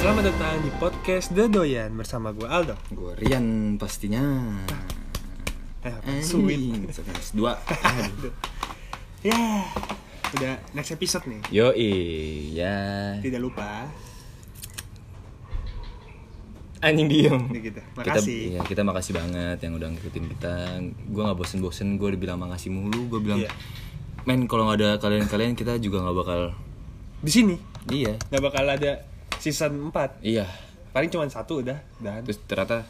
Selamat datang di podcast The Doyan bersama gue Aldo. Gue Rian pastinya. Eh, Eh, suwin. sekelas Dua. Ya, udah next episode nih. Yoi, ya. Tidak lupa Anjing diem. ini kita. Kita, Makasih. iya, kita makasih banget yang udah ngikutin kita. Gue nggak bosen-bosen. Gue dibilang makasih mulu. Gue bilang, Iya. men kalau nggak ada kalian-kalian kita juga nggak bakal. Di sini Iya. nggak bakal ada season 4 Iya. Paling cuma satu udah. Dan Terus ternyata,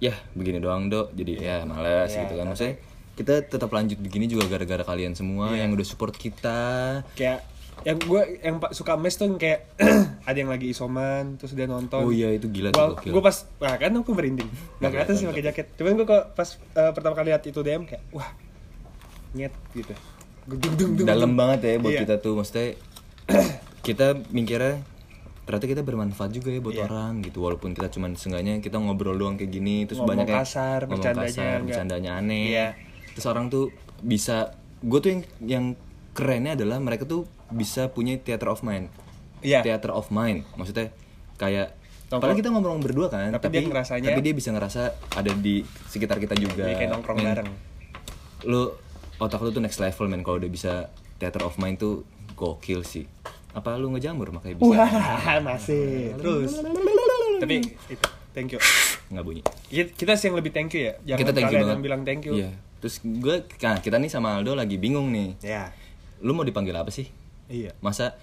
ya begini doang dok. Jadi ya males Iya, gitu kan. Maksudnya kita tetap lanjut begini juga gara-gara kalian semua yang udah support kita. kayak yang gue yang pa- suka mes tuh yang kayak ada yang lagi isoman terus dia nonton. Oh iya itu gila tuh. Gua, gokil. Iya, gua pas wah kan aku merinding nggak kelihatan sih pakai jaket cuman gua kok pas eh, pertama kali lihat itu DM kayak wah nyet gitu gedung dung dung dalam banget ya buat Iya. kita tuh maksudnya kita mikirnya ternyata kita bermanfaat juga ya Iya. buat orang gitu walaupun kita cuman seenggaknya kita ngobrol doang kayak gini terus Ngomong banyak yang kasar, ngomong bercandanya kasar, enggak. bercandanya aneh Iya. terus orang tuh bisa gue tuh yang yang kerennya adalah mereka tuh bisa punya theater of mind Iya. theater of mind maksudnya kayak Nongkrong. padahal kita ngomong berdua kan Tapi dia ngerasanya- tapi dia bisa ngerasa ada di sekitar kita juga ya kan? Jadi kayak nongkrong Men, bareng. lu otak lu tuh next level men kalau udah bisa theater of mind tuh gokil sih apa lu ngejamur makanya bisa wah masih terus tapi itu thank you nggak bunyi Ki- kita sih yang lebih thank you ya jangan kita thank you kalian banget yang bilang thank you Iya. terus gue nah, kita nih sama Aldo lagi bingung nih ya lu mau dipanggil apa sih iya masa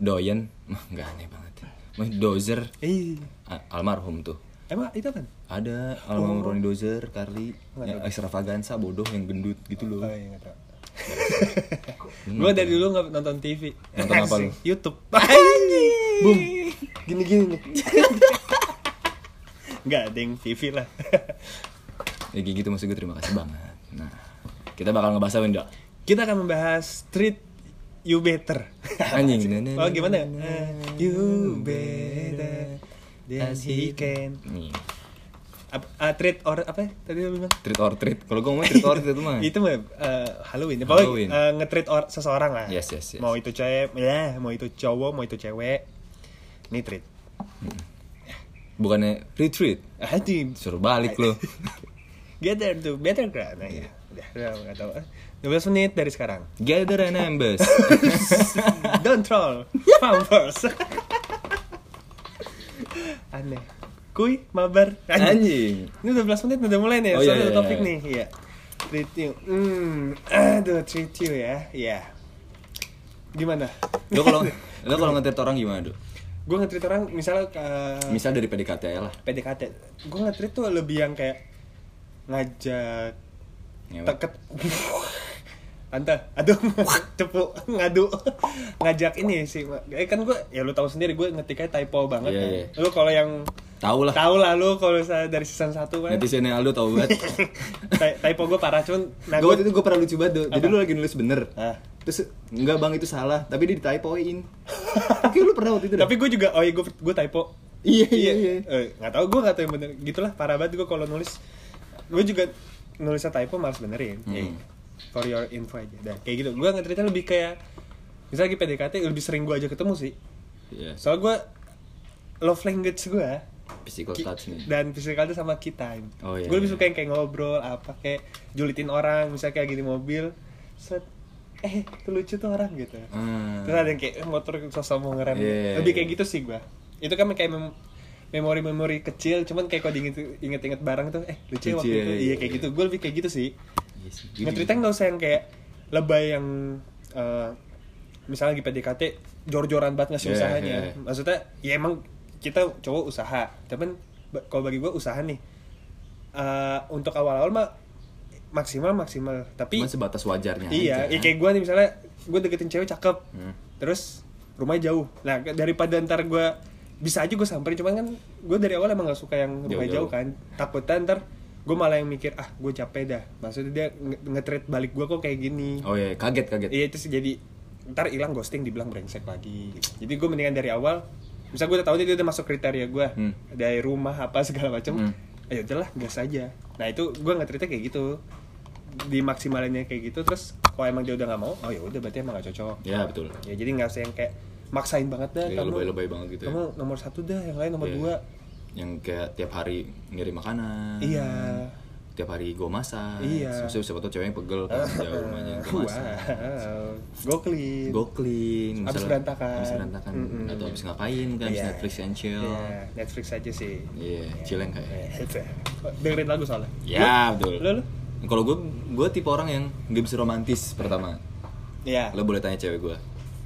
doyan Mah, nggak aneh banget Mas dozer Ih, A- almarhum tuh emang itu kan ada almarhum Ronnie Oh. Dozer Carly yang extravaganza bodoh yang gendut gitu loh oh iya nggak tahu gue dari dulu nggak nonton TV Nonton apa lu? Asik, YouTube Anjing. boom gini gini nih nggak ada yang TV lah ya kayak gitu maksud gue terima kasih banget nah kita bakal ngebahas apa nih Dok? kita akan membahas treat you better anjing nah, oh gimana Eh, you nah, better than he can Nih, Ap- ah, treat or apa ya? tadi lu bilang treat or treat. Kalau gue ngomong treat or treat itu mah. itu mah eh, Halloween, ya, pokoknya Halloween. eh, nge-treat or- seseorang lah. Yes, yes, yes. Mau itu cewek, ya, mau itu cowok, mau itu cewek, ini treat. Bukannya retreat. Hati Suruh balik lo. gather to better ground. Nah, ya. Iya. Udah, udah nggak tahu. Eh, 12 menit dari sekarang. Gather and embers. Don't troll, Pampers. Aneh. Kuy, mabar. Anjing. Anjing. Ini udah 12 menit udah mulai nih, Oh, soalnya iya, ada iya, topik iya. nih. Iya. Treat you. Hmm, aduh treat you ya. Iya. Gimana? Lo kalau lo kalau nge-treat orang gimana, Dok? gue nge-treat orang misalnya eh, ke Misal dari PDKT aja lah. PDKT gue nge-treat tuh lebih yang kayak ngajak Ngewek. teket tante aduh cepu ngadu ngajak ini sih eh kan gue ya lu tahu sendiri gue ngetiknya typo banget Iya, kan. iya. lu kalau yang Tahu lah. tahu lah lu kalau misalnya dari season 1 kan Netizennya Aldo tahu banget. ty- typo gue parah cuman nah gue gua- waktu itu gue pernah lucu banget, Dok. Jadi Apa? lu lagi nulis bener. Ah. Terus enggak Bang itu salah, tapi dia ditypoin. Oke, lu pernah waktu itu. Dok? tapi gue juga oh iya gue gue typo Iya, iya, iya. Eh, nggak tahu gue nggak tahu yang bener gitulah parah banget gue kalau nulis gue juga nulisnya typo malas benerin Hmm. Iya. for your info aja dah kayak gitu gue ngetrita lebih kayak misalnya lagi PDKT lebih sering gue aja ketemu sih Iya. soal gue love language gue Physical ki- Nah. touch nih. dan physical touch sama key time Oh, iya, gue lebih iya. suka yang kayak ngobrol apa kayak julitin orang misalnya kayak gini mobil set eh itu lucu tuh orang gitu Hmm. Terus ada yang kayak eh, motor sosok mau ngerem. Iya. Lebih kayak gitu sih gua. Itu kan kayak mem- memori-memori kecil, cuman kayak kalau diinget- inget-inget barang tuh, eh lucu ya waktu itu. Lucu, iya, Iya iya, kayak iya. gitu. Gue lebih kayak gitu sih. Iya sih, gitu. Ngetrita nggak usah yang kayak lebay yang eh, misalnya lagi PDKT jor-joran banget ngasih Iya, usahanya. iya, iya. Maksudnya ya emang kita cowok usaha, cuman ba- kalau bagi gua usaha nih eh, untuk awal-awal mah maksimal maksimal. Tapi Cuma sebatas wajarnya Iya, aja. ya kayak gue nih misalnya gue deketin cewek cakep, Hmm. terus rumahnya jauh. Nah daripada ntar gue bisa aja gue samperin, cuman kan gue dari awal emang gak suka yang rumah jauh, Jauh-jauh. kan. Takutnya ntar gue malah yang mikir ah gue capek dah. Maksudnya dia nge- nge-treat balik gue kok kayak gini. Oh iya, kaget kaget. Iya itu sih jadi ntar hilang ghosting dibilang brengsek lagi. gitu. Jadi gue mendingan dari awal. Misal gue udah tahu dia udah masuk kriteria gue Hmm. dari rumah apa segala macam. Hmm. Ayo udahlah gas aja. Nah itu gue nggak cerita kayak gitu di maksimalnya kayak gitu terus kalau emang dia udah nggak mau oh ya udah berarti emang gak cocok Ya betul. ya jadi nggak usah yang kayak maksain banget dah Kayak kamu Iya, lebay-lebay banget gitu ya. kamu nomor satu dah yang lain nomor Iya. dua yang kayak tiap hari ngirim makanan Iya. tiap hari gue masak Iya. maksudnya siapa tau ceweknya pegel kan jauh rumahnya gue wow masak go clean gue clean Abis misalnya- berantakan. abis berantakan Mm-mm. atau abis ngapain kan abis Iya. Netflix and chill Iya, Netflix aja sih Iya, chilling kayak. Eh, ya. dengerin lagu soalnya Ya, betul. Lu, lu? Kalau gue, gue tipe orang yang gak bisa romantis pertama. Iya. Lo boleh tanya cewek gue.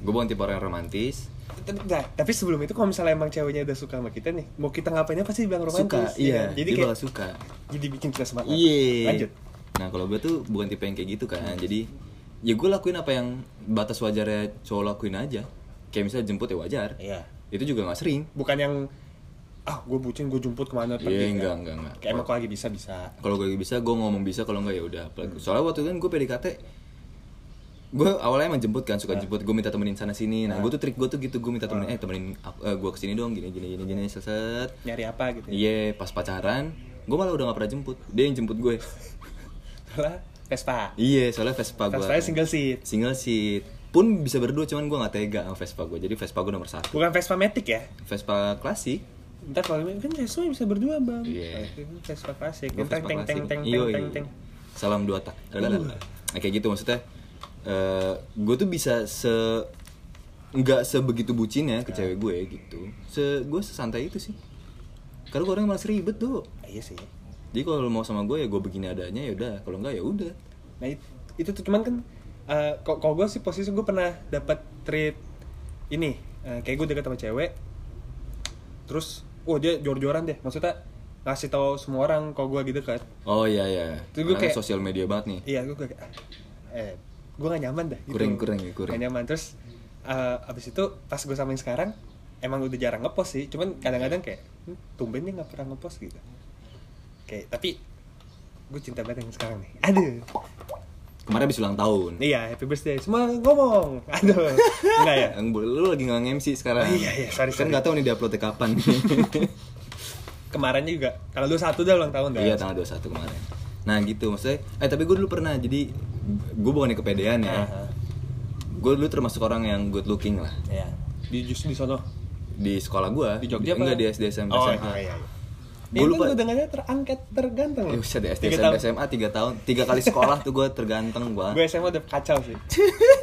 Gue bukan tipe orang yang romantis. Tapi- Nah, tapi sebelum itu kalau misalnya emang ceweknya udah suka sama kita nih, mau kita ngapainnya pasti bilang romantis. suka, ya iya. kan? Jadi dia kayak bakal suka. jadi bikin kita semangat. Iya. Lanjut. Nah, kalau gue tuh bukan tipe yang kayak gitu kan. Jadi ya gue lakuin apa yang batas wajarnya cowok lakuin aja. Kayak misalnya jemput ya wajar. Iya. Itu juga gak sering. Bukan yang ah gue bucin gue jemput kemana Iya, pergi. kan? enggak, enggak, enggak. Kayak emang kalau lagi bisa bisa. kalau gue bisa gue ngomong bisa kalau nggak ya udah Apalagi- soalnya waktu itu kan gue PDKT gue awalnya emang jemput kan suka jemput gue minta temenin sana sini nah gue tuh trik gue tuh gitu gue minta temenin eh temenin aku- eh, gue kesini dong gini gini gini gini seset Nyari apa gitu. ya. iya pas pacaran gue malah udah gak pernah jemput dia yang jemput gue Soalnya Vespa. iya soalnya Vespa gue Vespa single seat. single seat pun bisa berdua cuman gue nggak tega sama Vespa gue jadi Vespa gue nomor satu Bukan Vespa Matic ya. Vespa klasik Ntar kalau kan Vespa bisa berdua bang. Iya. Vespa klasik. Gua Teng teng Vespa Iya, teng klasik. teng Yoi. teng teng Uh. teng. Salam dua tak. Lalalala. Nah, kayak gitu maksudnya. eh gue tuh bisa se nggak sebegitu Iya. bucinnya ke cewek gue gitu. Se gue sesantai itu sih. Karena gue orang yang malas ribet tuh. Ah, Iya sih. Jadi kalau lo mau sama gue ya gue begini adanya ya udah. Kalau enggak ya udah. Nah it- itu tuh cuman kan eh, kok kalau gue sih posisi gue pernah dapat treat ini eh, kayak gue deket sama cewek terus oh dia jor-joran deh maksudnya ngasih tahu semua orang kalau gue lagi deket Oh iya iya. Tuh, gua Karena kayak- sosial media banget nih. iya gue kayak ah, eh gue gak nyaman dah gitu. Kurang, kurang ya, kurang. Gak nyaman terus eh, abis itu pas gue sama yang sekarang emang udah jarang ngepost sih cuman kadang-kadang kayak "Hmm, tumben nih nggak pernah ngepost gitu kayak tapi gue cinta banget yang sekarang nih aduh Kemarin habis ulang tahun. Iya, happy birthday. Semua ngomong. Aduh. Enggak ya? Yang bo- Lu lagi nggak MC sekarang. Oh, iya, iya, sorry, Kan sorry. nggak tahu nih dia uploadnya kapan. Kemarinnya juga kalau lu satu dah ulang tahun dah. Iya tanggal 21 kemarin. Nah gitu maksudnya. Eh tapi gue dulu pernah jadi gue bukannya kepedean ya. Aha. Gue dulu termasuk orang yang good looking lah Iya. Di justru di sono. di sekolah gue. Di Jogja apa? Enggak di SD SMA. Oh, SMA. iya, iya. Gua Gue lupa. lupa. Gue dengannya terangkat terganteng. Eh, buset, di SD Tiga SMP tahun. SMA 3 tahun, 3 kali sekolah tuh gue terganteng Gue gue. SMA udah kacau sih.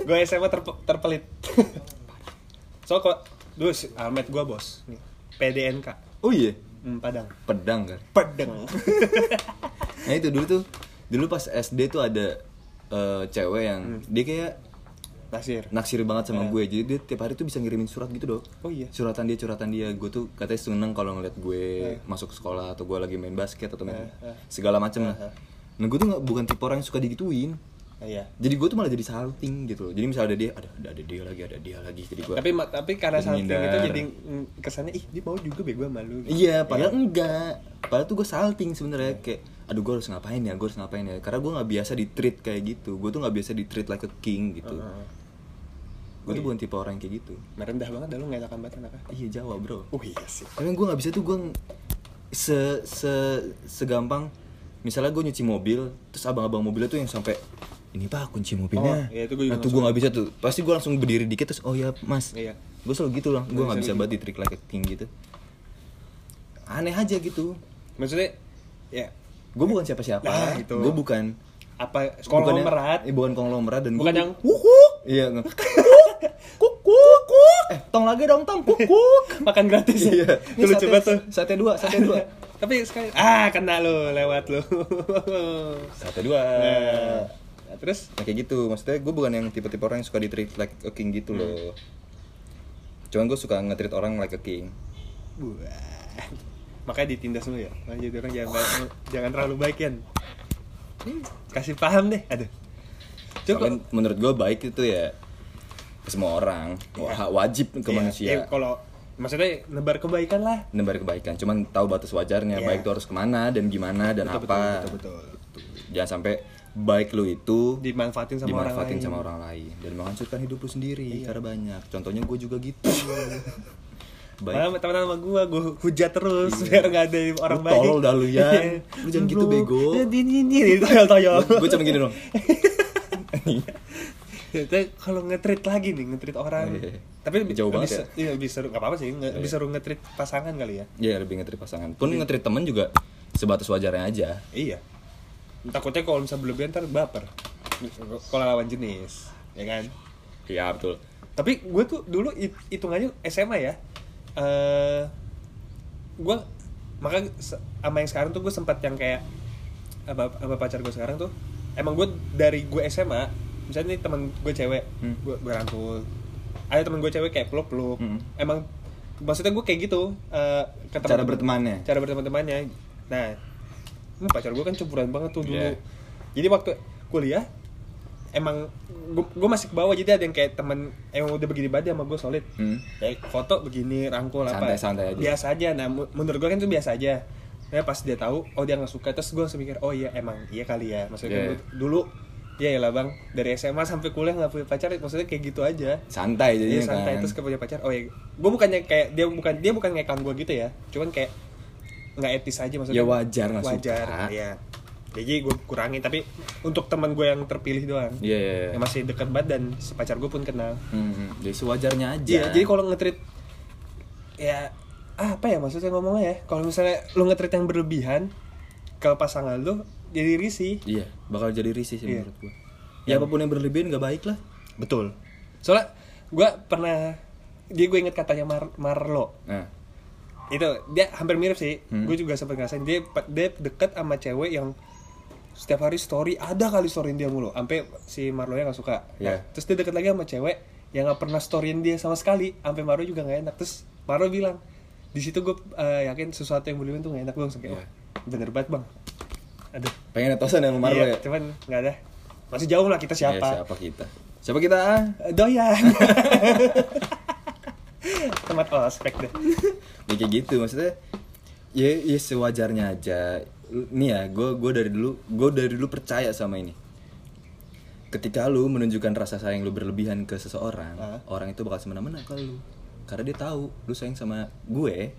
gue SMA terpe- terpelit. so kok dulu si Ahmed gue bos nih. PDNK. Oh iya, Hmm, Padang. pedang kan. Pedeng. Nah itu dulu tuh, dulu pas SD tuh ada eh, cewek Hmm. yang dia kayak Nasir. naksir banget sama gue jadi dia tiap hari tuh bisa ngirimin surat gitu dong Iya. Oh iya. suratan dia curhatan dia gue tuh katanya seneng kalau ngeliat gue masuk sekolah atau gue lagi main basket atau main Iya, segala macem lah nah gue tuh nggak bukan tipe orang yang suka digituin Nah, iya. jadi gue tuh malah jadi salting gitu loh jadi misalnya ada dia ada ada, ada dia lagi ada dia lagi jadi gue Tapi ma- tapi karena Jadi saking itu ngindar. jadi mm, kesannya ih dia mau juga bego sama lu. gitu. Iya, padahal enggak. Padahal tuh gue salting Iya. sebenarnya kayak, aduh gue harus ngapain ya, gue harus ngapain ya. Karena gue nggak biasa di treat kayak gitu. Gue tuh nggak biasa di treat like a king gitu. Gue Iya. tuh bukan tipe orang yang kayak gitu. Merendah banget dah lu nggak enakan banget anaknya. Iya Jawa bro. Oh iya sih. Karena gue nggak bisa tuh gue se se segampang. Misalnya gue nyuci mobil, terus abang-abang mobilnya tuh yang sampai ini pak kunci mobilnya. Oh, iya, itu gua juga Nah, tuh gue nggak bisa tuh. Pasti gue langsung berdiri dikit terus oh ya mas. Iya. Gue selalu gitu lah. Gue Gua nggak bisa bisa banget di trik like a king gitu. Aneh aja gitu. Maksudnya ya Gue bukan siapa-siapa. Nah, itu. Gue bukan. apa sekolah bukan merat bukan konglomerat dan bukan gua bu- yang wukuk Iya. nge- Kukuk, kukuk, kukuk. Eh, tong lagi dong, tong kukuk. makan gratis ya. Iya. Itu lucu banget tuh. Sate dua, sate dua. Tapi sekali ah kena lu lewat lu. Sate dua. Nah, Terus Nah, kayak gitu, maksudnya gue bukan yang tipe-tipe orang yang suka di treat like a king Hmm. gitu loh Cuman gue suka nge-treat orang like a king buah. Makanya ditindas lu ya. Nah, jadi orang jangan baik- jangan terlalu baik Yan. Kasih paham deh. Aduh. Coba Soalnya menurut gue baik itu ya ke semua orang Wah, Wajib ke manusia Iya, kalau maksudnya nebar kebaikan lah. Nembar kebaikan, cuman tahu batas wajarnya Iya. Baik itu harus kemana dan gimana dan Betul, apa Gitu. betul, betul, betul. Jangan sampai baik lu itu Dimanfaatin sama orang dimanfaatin lain. Iya. sama orang lain Dan menghancurkan hidup lu sendiri karena banyak Contohnya gue juga gitu Malah teman sama gua, gua hujat terus biar nggak ada orang Iya. Lu baik. Iya. tolol dah lu, Yan. Lu jangan gitu, bego. Ini ini toyol toyol. gue cuma gini dong Tapi kalau nge-treat lagi nih, nge-treat orang. Iya, iya. Tapi lebih- Jauh lebih banget Iya. se- Iya, lebih seru. Gak apa-apa sih, nge- lebih seru nge-treat pasangan kali ya. ya lebih ngetrit pasangan pun ngetrit temen juga sebatas wajarnya aja Iya. Takutnya kalau misalnya berlebihan ntar baper. Kalau lawan jenis, ya kan? iya betul Tapi gue tuh dulu hit- hitungannya SMA ya. eh gue maka se- sama yang sekarang tuh gue sempat yang kayak apa apa pacar gue sekarang tuh emang gue dari gue SMA misalnya nih teman gue cewek Hmm. gue gue rangkul ada teman gue cewek kayak peluk peluk Hmm. emang maksudnya gue kayak gitu eh, ke teman- Cara bertemannya? cara berteman-temannya nah hmm, pacar gue kan cemburuan banget tuh dulu Iya. jadi waktu kuliah emang gue masih ke bawah jadi ada yang kayak temen emang udah begini banget sama gue solid Hmm. kayak foto begini rangkul apa Santai-santai aja. biasa aja nah mu- menurut gue kan itu biasa aja nah pas dia tahu oh dia nggak suka terus gue langsung mikir oh iya emang iya kali ya maksudnya Iya. gua dulu ya lah bang dari SMA sampai kuliah nggak punya pacar maksudnya kayak gitu aja santai Iya jadinya santai kan terus ke punya pacar. Oh ya, gue bukannya kayak dia bukan dia bukan ngekang gue gitu ya. Cuman kayak nggak etis aja maksudnya. Ya, wajar nggak Wajar. suka. Iya. Jadi gue kurangin tapi untuk teman gue yang terpilih doang. Iya, iya, iya. Yang masih dekat banget dan si pacar gue pun kenal. Hmm, hmm. jadi sewajarnya aja Iya. Jadi kalau ngetrit ya ah, apa ya maksudnya ngomongnya ya? Kalau misalnya lu ngetrit yang berlebihan ke pasangan lu jadi risih. Iya, bakal jadi risih sih Iya. menurut gua. Ya apapun yang berlebihan gak baik lah. Betul. Soalnya gue pernah dia gue inget katanya Mar- Marlo. Nah, itu dia hampir mirip sih Hmm. gue juga sempat ngerasain dia dia deket sama cewek yang setiap hari story ada kali storyin dia mulu sampai si Marlo nya nggak suka Nah, Iya. terus dia deket lagi sama cewek yang nggak pernah storyin dia sama sekali sampai Marlo juga nggak enak terus Marlo bilang di situ gue eh, yakin sesuatu yang berlebihan tuh nggak enak gue langsung kayak Iya. "Wah, bener banget bang ada pengen atosan yang kemarin ya. cuman nggak ada masih jauh lah kita siapa, Iya, siapa kita? Siapa kita? Eh, doyan tempat ospek deh Ya kayak gitu maksudnya. Ya, ya sewajarnya aja. Lu- Nih ya, gue gua dari dulu gue dari dulu percaya sama ini. Ketika lu menunjukkan rasa sayang lu berlebihan ke seseorang, Hah? orang itu bakal semena-mena ke lu. Karena dia tahu lu sayang sama gue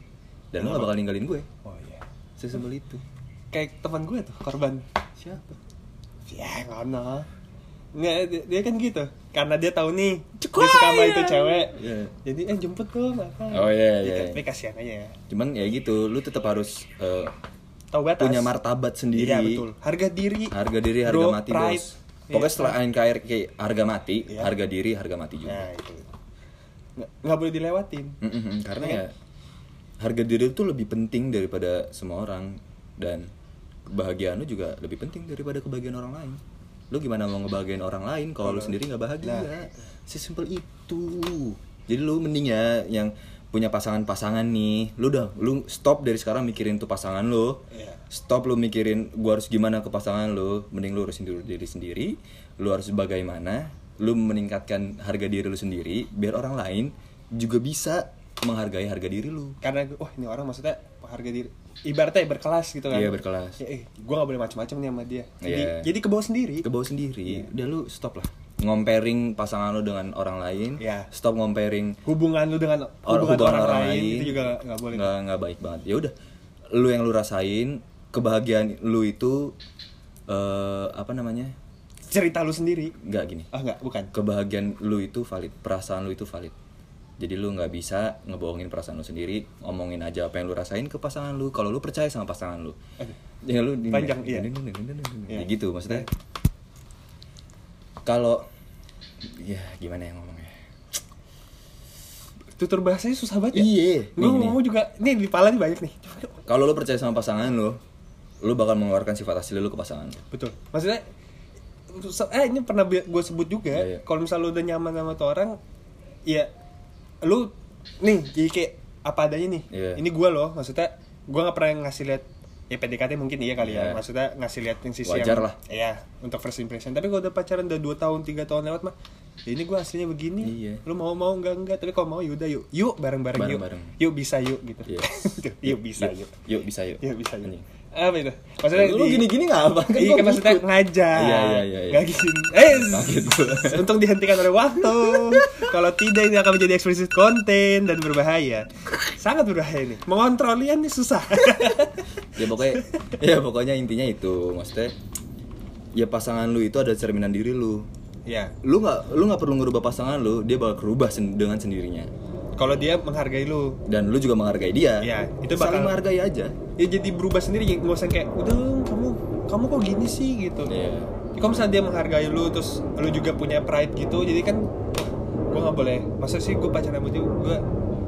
dan lu gak bakal ninggalin gue. oh iya Sesimpel itu. kayak teman gue tuh korban Siapa? ya ngono nggak dia, dia kan gitu karena dia tahu nih dia suka sama itu cewek Iya. jadi eh jemput dong apa Oh, Dia iya, iya, kan- iya. tapi kasihan aja ya Cuman ya gitu, lu tetap harus eh, tahu batas punya martabat sendiri. iya betul harga diri Harga diri, harga Bro, mati, pride. Bos. Pokoknya Iya. setelah NKRI harga mati, Iya. harga diri, harga mati juga. nah itu nggak, nggak boleh dilewatin Mm-mm, karena ya harga diri itu lebih penting daripada semua orang dan kebahagiaan lu juga lebih penting daripada kebahagiaan orang lain. Lu gimana mau ngebahagiain orang lain kalau lu sendiri nggak bahagia? Sesimpel itu. Jadi lu mending ya yang punya pasangan-pasangan nih, lu udah lu stop dari sekarang mikirin tuh pasangan lu Iya. stop lu mikirin gua harus gimana ke pasangan lu mending lu urusin dulu diri sendiri lu harus bagaimana lu meningkatkan harga diri lu sendiri biar orang lain juga bisa menghargai harga diri lu karena gue- wah ini orang maksudnya harga diri ibaratnya berkelas gitu kan Iya, berkelas. Ya, eh, gue nggak boleh macam-macam nih sama dia jadi Iya. jadi ke bawah sendiri ke bawah Iya. sendiri udah lu stop lah ngomparing pasangan lu dengan orang lain Iya. stop ngomparing hubungan lu dengan Or- hubungan, orang, lain, itu juga nggak- nggak boleh nggak nggak baik banget ya udah lu yang lu rasain kebahagiaan lu itu eh apa namanya cerita lu sendiri nggak gini ah nggak bukan kebahagiaan lu itu valid, perasaan lu itu valid. Jadi lu nggak bisa ngebohongin perasaan lu sendiri, omongin aja apa yang lu rasain ke pasangan lu. Kalau lu percaya sama pasangan lu, Eh, ya lu di- Panjang, iya. Ya gitu maksudnya. Kalau ya gimana ya ngomongnya? tutur bahasanya susah banget ya. Iya. Gue Nih, ngomong juga, nih di pala nih banyak nih. Kalau lu percaya sama pasangan lu, lu bakal mengeluarkan sifat asli lu ke pasangan lu. Betul. Maksudnya, se- eh ini pernah gue sebut juga. Iya, iya. Kalau misalnya lu udah nyaman sama tuh orang, ya lu nih jadi kayak apa adanya nih. Iya. Ini gue loh, maksudnya gue nggak pernah ngasih lihat ya PDKT mungkin iya kali ya Iya. maksudnya ngasih lihat yang sisi yang- Wajar lah. iya untuk first impression tapi kalau udah pacaran udah 2 tahun 3 tahun lewat mah ya ini gue aslinya begini Iya. lu mau mau enggak enggak tapi kalau mau yaudah yuk yuk bareng bareng yuk Bareng-bareng. yuk bisa yuk gitu Iya. yuk bisa yuk Yuk bisa yuk. Iya bisa gitu. Anjing. Apa itu? Maksudnya Lu di- gini-gini nggak apa? Kan Iya gua kan maksudnya ngikut. ngajak. Iya, iya, iya, iya. Nggak gini. Eh, Kaget gua. untung dihentikan oleh waktu. Kalau tidak ini akan menjadi eksplisit konten dan berbahaya. Sangat berbahaya ini. Mengontrolnya nih susah. ya pokoknya ya pokoknya intinya itu maksudnya ya pasangan lu itu ada cerminan diri lu ya lu nggak lu nggak perlu ngerubah pasangan lu dia bakal berubah sen- dengan sendirinya kalau dia menghargai lu dan lu juga menghargai dia Iya, itu saling bakal- menghargai aja ya jadi berubah sendiri nggak usah kayak udah lu, kamu kamu kok gini sih gitu Iya. Jadi kalau misalnya dia menghargai lu terus lu juga punya pride gitu jadi kan gue nggak boleh masa sih gue pacaran sama dia gue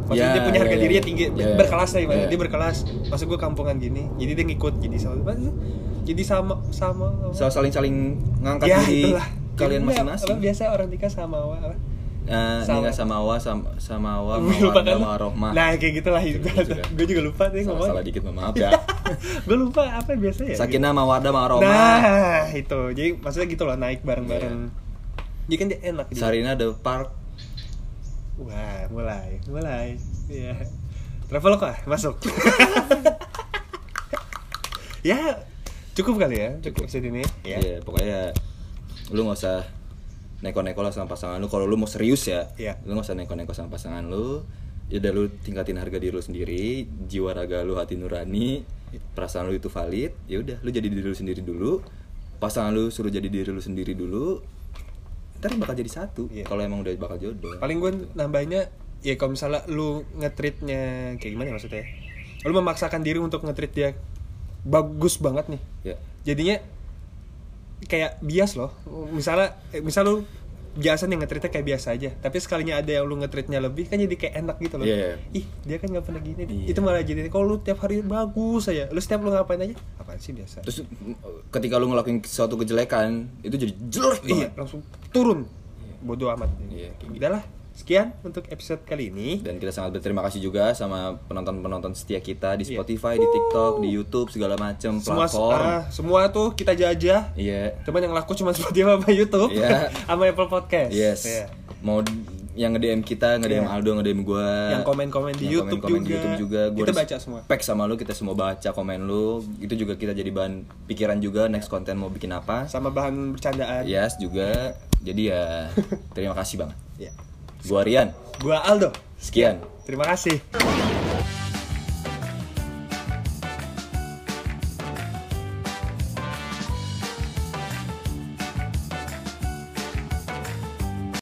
maksudnya Ya, dia punya harga ya, ya. dirinya tinggi Ya, ya. berkelas lah ibaratnya Ya. dia berkelas masa gue kampungan gini jadi dia ngikut jadi sama jadi sama sama Ya, Sa- saling saling ngangkat diri kalian Jadi, Iya, apa, masing-masing biasa orang nikah sama wa apa? Eh, Sama. Nina Samawa sama Samawa Lupa kan lu? Mawarda Mawarohma nah kayak gitulah juga. gue juga lupa nih salah, ngomong gitu. salah dikit mohon maaf ya gue lupa apa biasanya ya? Sakina Mawarda Mawaroma Nah, itu. Jadi maksudnya gitu loh naik bareng-bareng. Iya. Jadi kan dia enak dia. Sarina The Park Wah, mulai, mulai. Iya. Travel kok ah? masuk. ya, cukup kali ya, cukup episode ini. ya Ya. pokoknya lu nggak usah neko-neko lah sama pasangan lu kalau lu mau serius ya Iya. lu nggak usah neko-neko sama pasangan lu ya udah lu tingkatin harga diri lu sendiri jiwa raga lu hati nurani perasaan lu itu valid ya udah lu jadi diri lu sendiri dulu pasangan lu suruh jadi diri lu sendiri dulu ntar bakal jadi satu Iya. kalau emang udah bakal jodoh Paling gue nambahnya ya kalau misalnya lu ngetritnya kayak gimana maksudnya? Lu memaksakan diri untuk ngetrit dia bagus banget nih. ya jadinya kayak bias loh misalnya eh, misal lu biasa nih ngetritnya kayak biasa aja tapi sekalinya ada yang lu ngetritnya lebih kan jadi kayak enak gitu loh Iya, iya. ih dia kan nggak pernah gini Iya. itu malah jadi kalau lu tiap hari bagus aja lu setiap lu ngapain aja apaan sih biasa terus ketika lu ngelakuin suatu kejelekan itu jadi jelek banget iya langsung turun bodoh amat Iya, kayak gitu. udahlah sekian untuk episode kali ini Dan kita sangat berterima kasih juga sama penonton-penonton setia kita di Iya. Spotify, di TikTok, di YouTube, segala macam semua platform. ah, semua tuh kita jajah Iya. cuman yang laku cuma Spotify sama YouTube Iya. sama Apple Podcast Yes. Iya. Mau d- yang nge-DM kita, nge-DM Iya. Aldo, nge-DM gua. Yang komen-komen di Yang YouTube komen-komen di juga. YouTube juga. Gua Kita res- baca semua. Pack sama lu, kita semua baca komen lu. Itu juga kita jadi bahan pikiran juga next konten mau bikin apa. sama bahan bercandaan Yes juga. Jadi ya terima kasih banget. Iya. Gua Rian. Gua Aldo. Sekian. Terima kasih.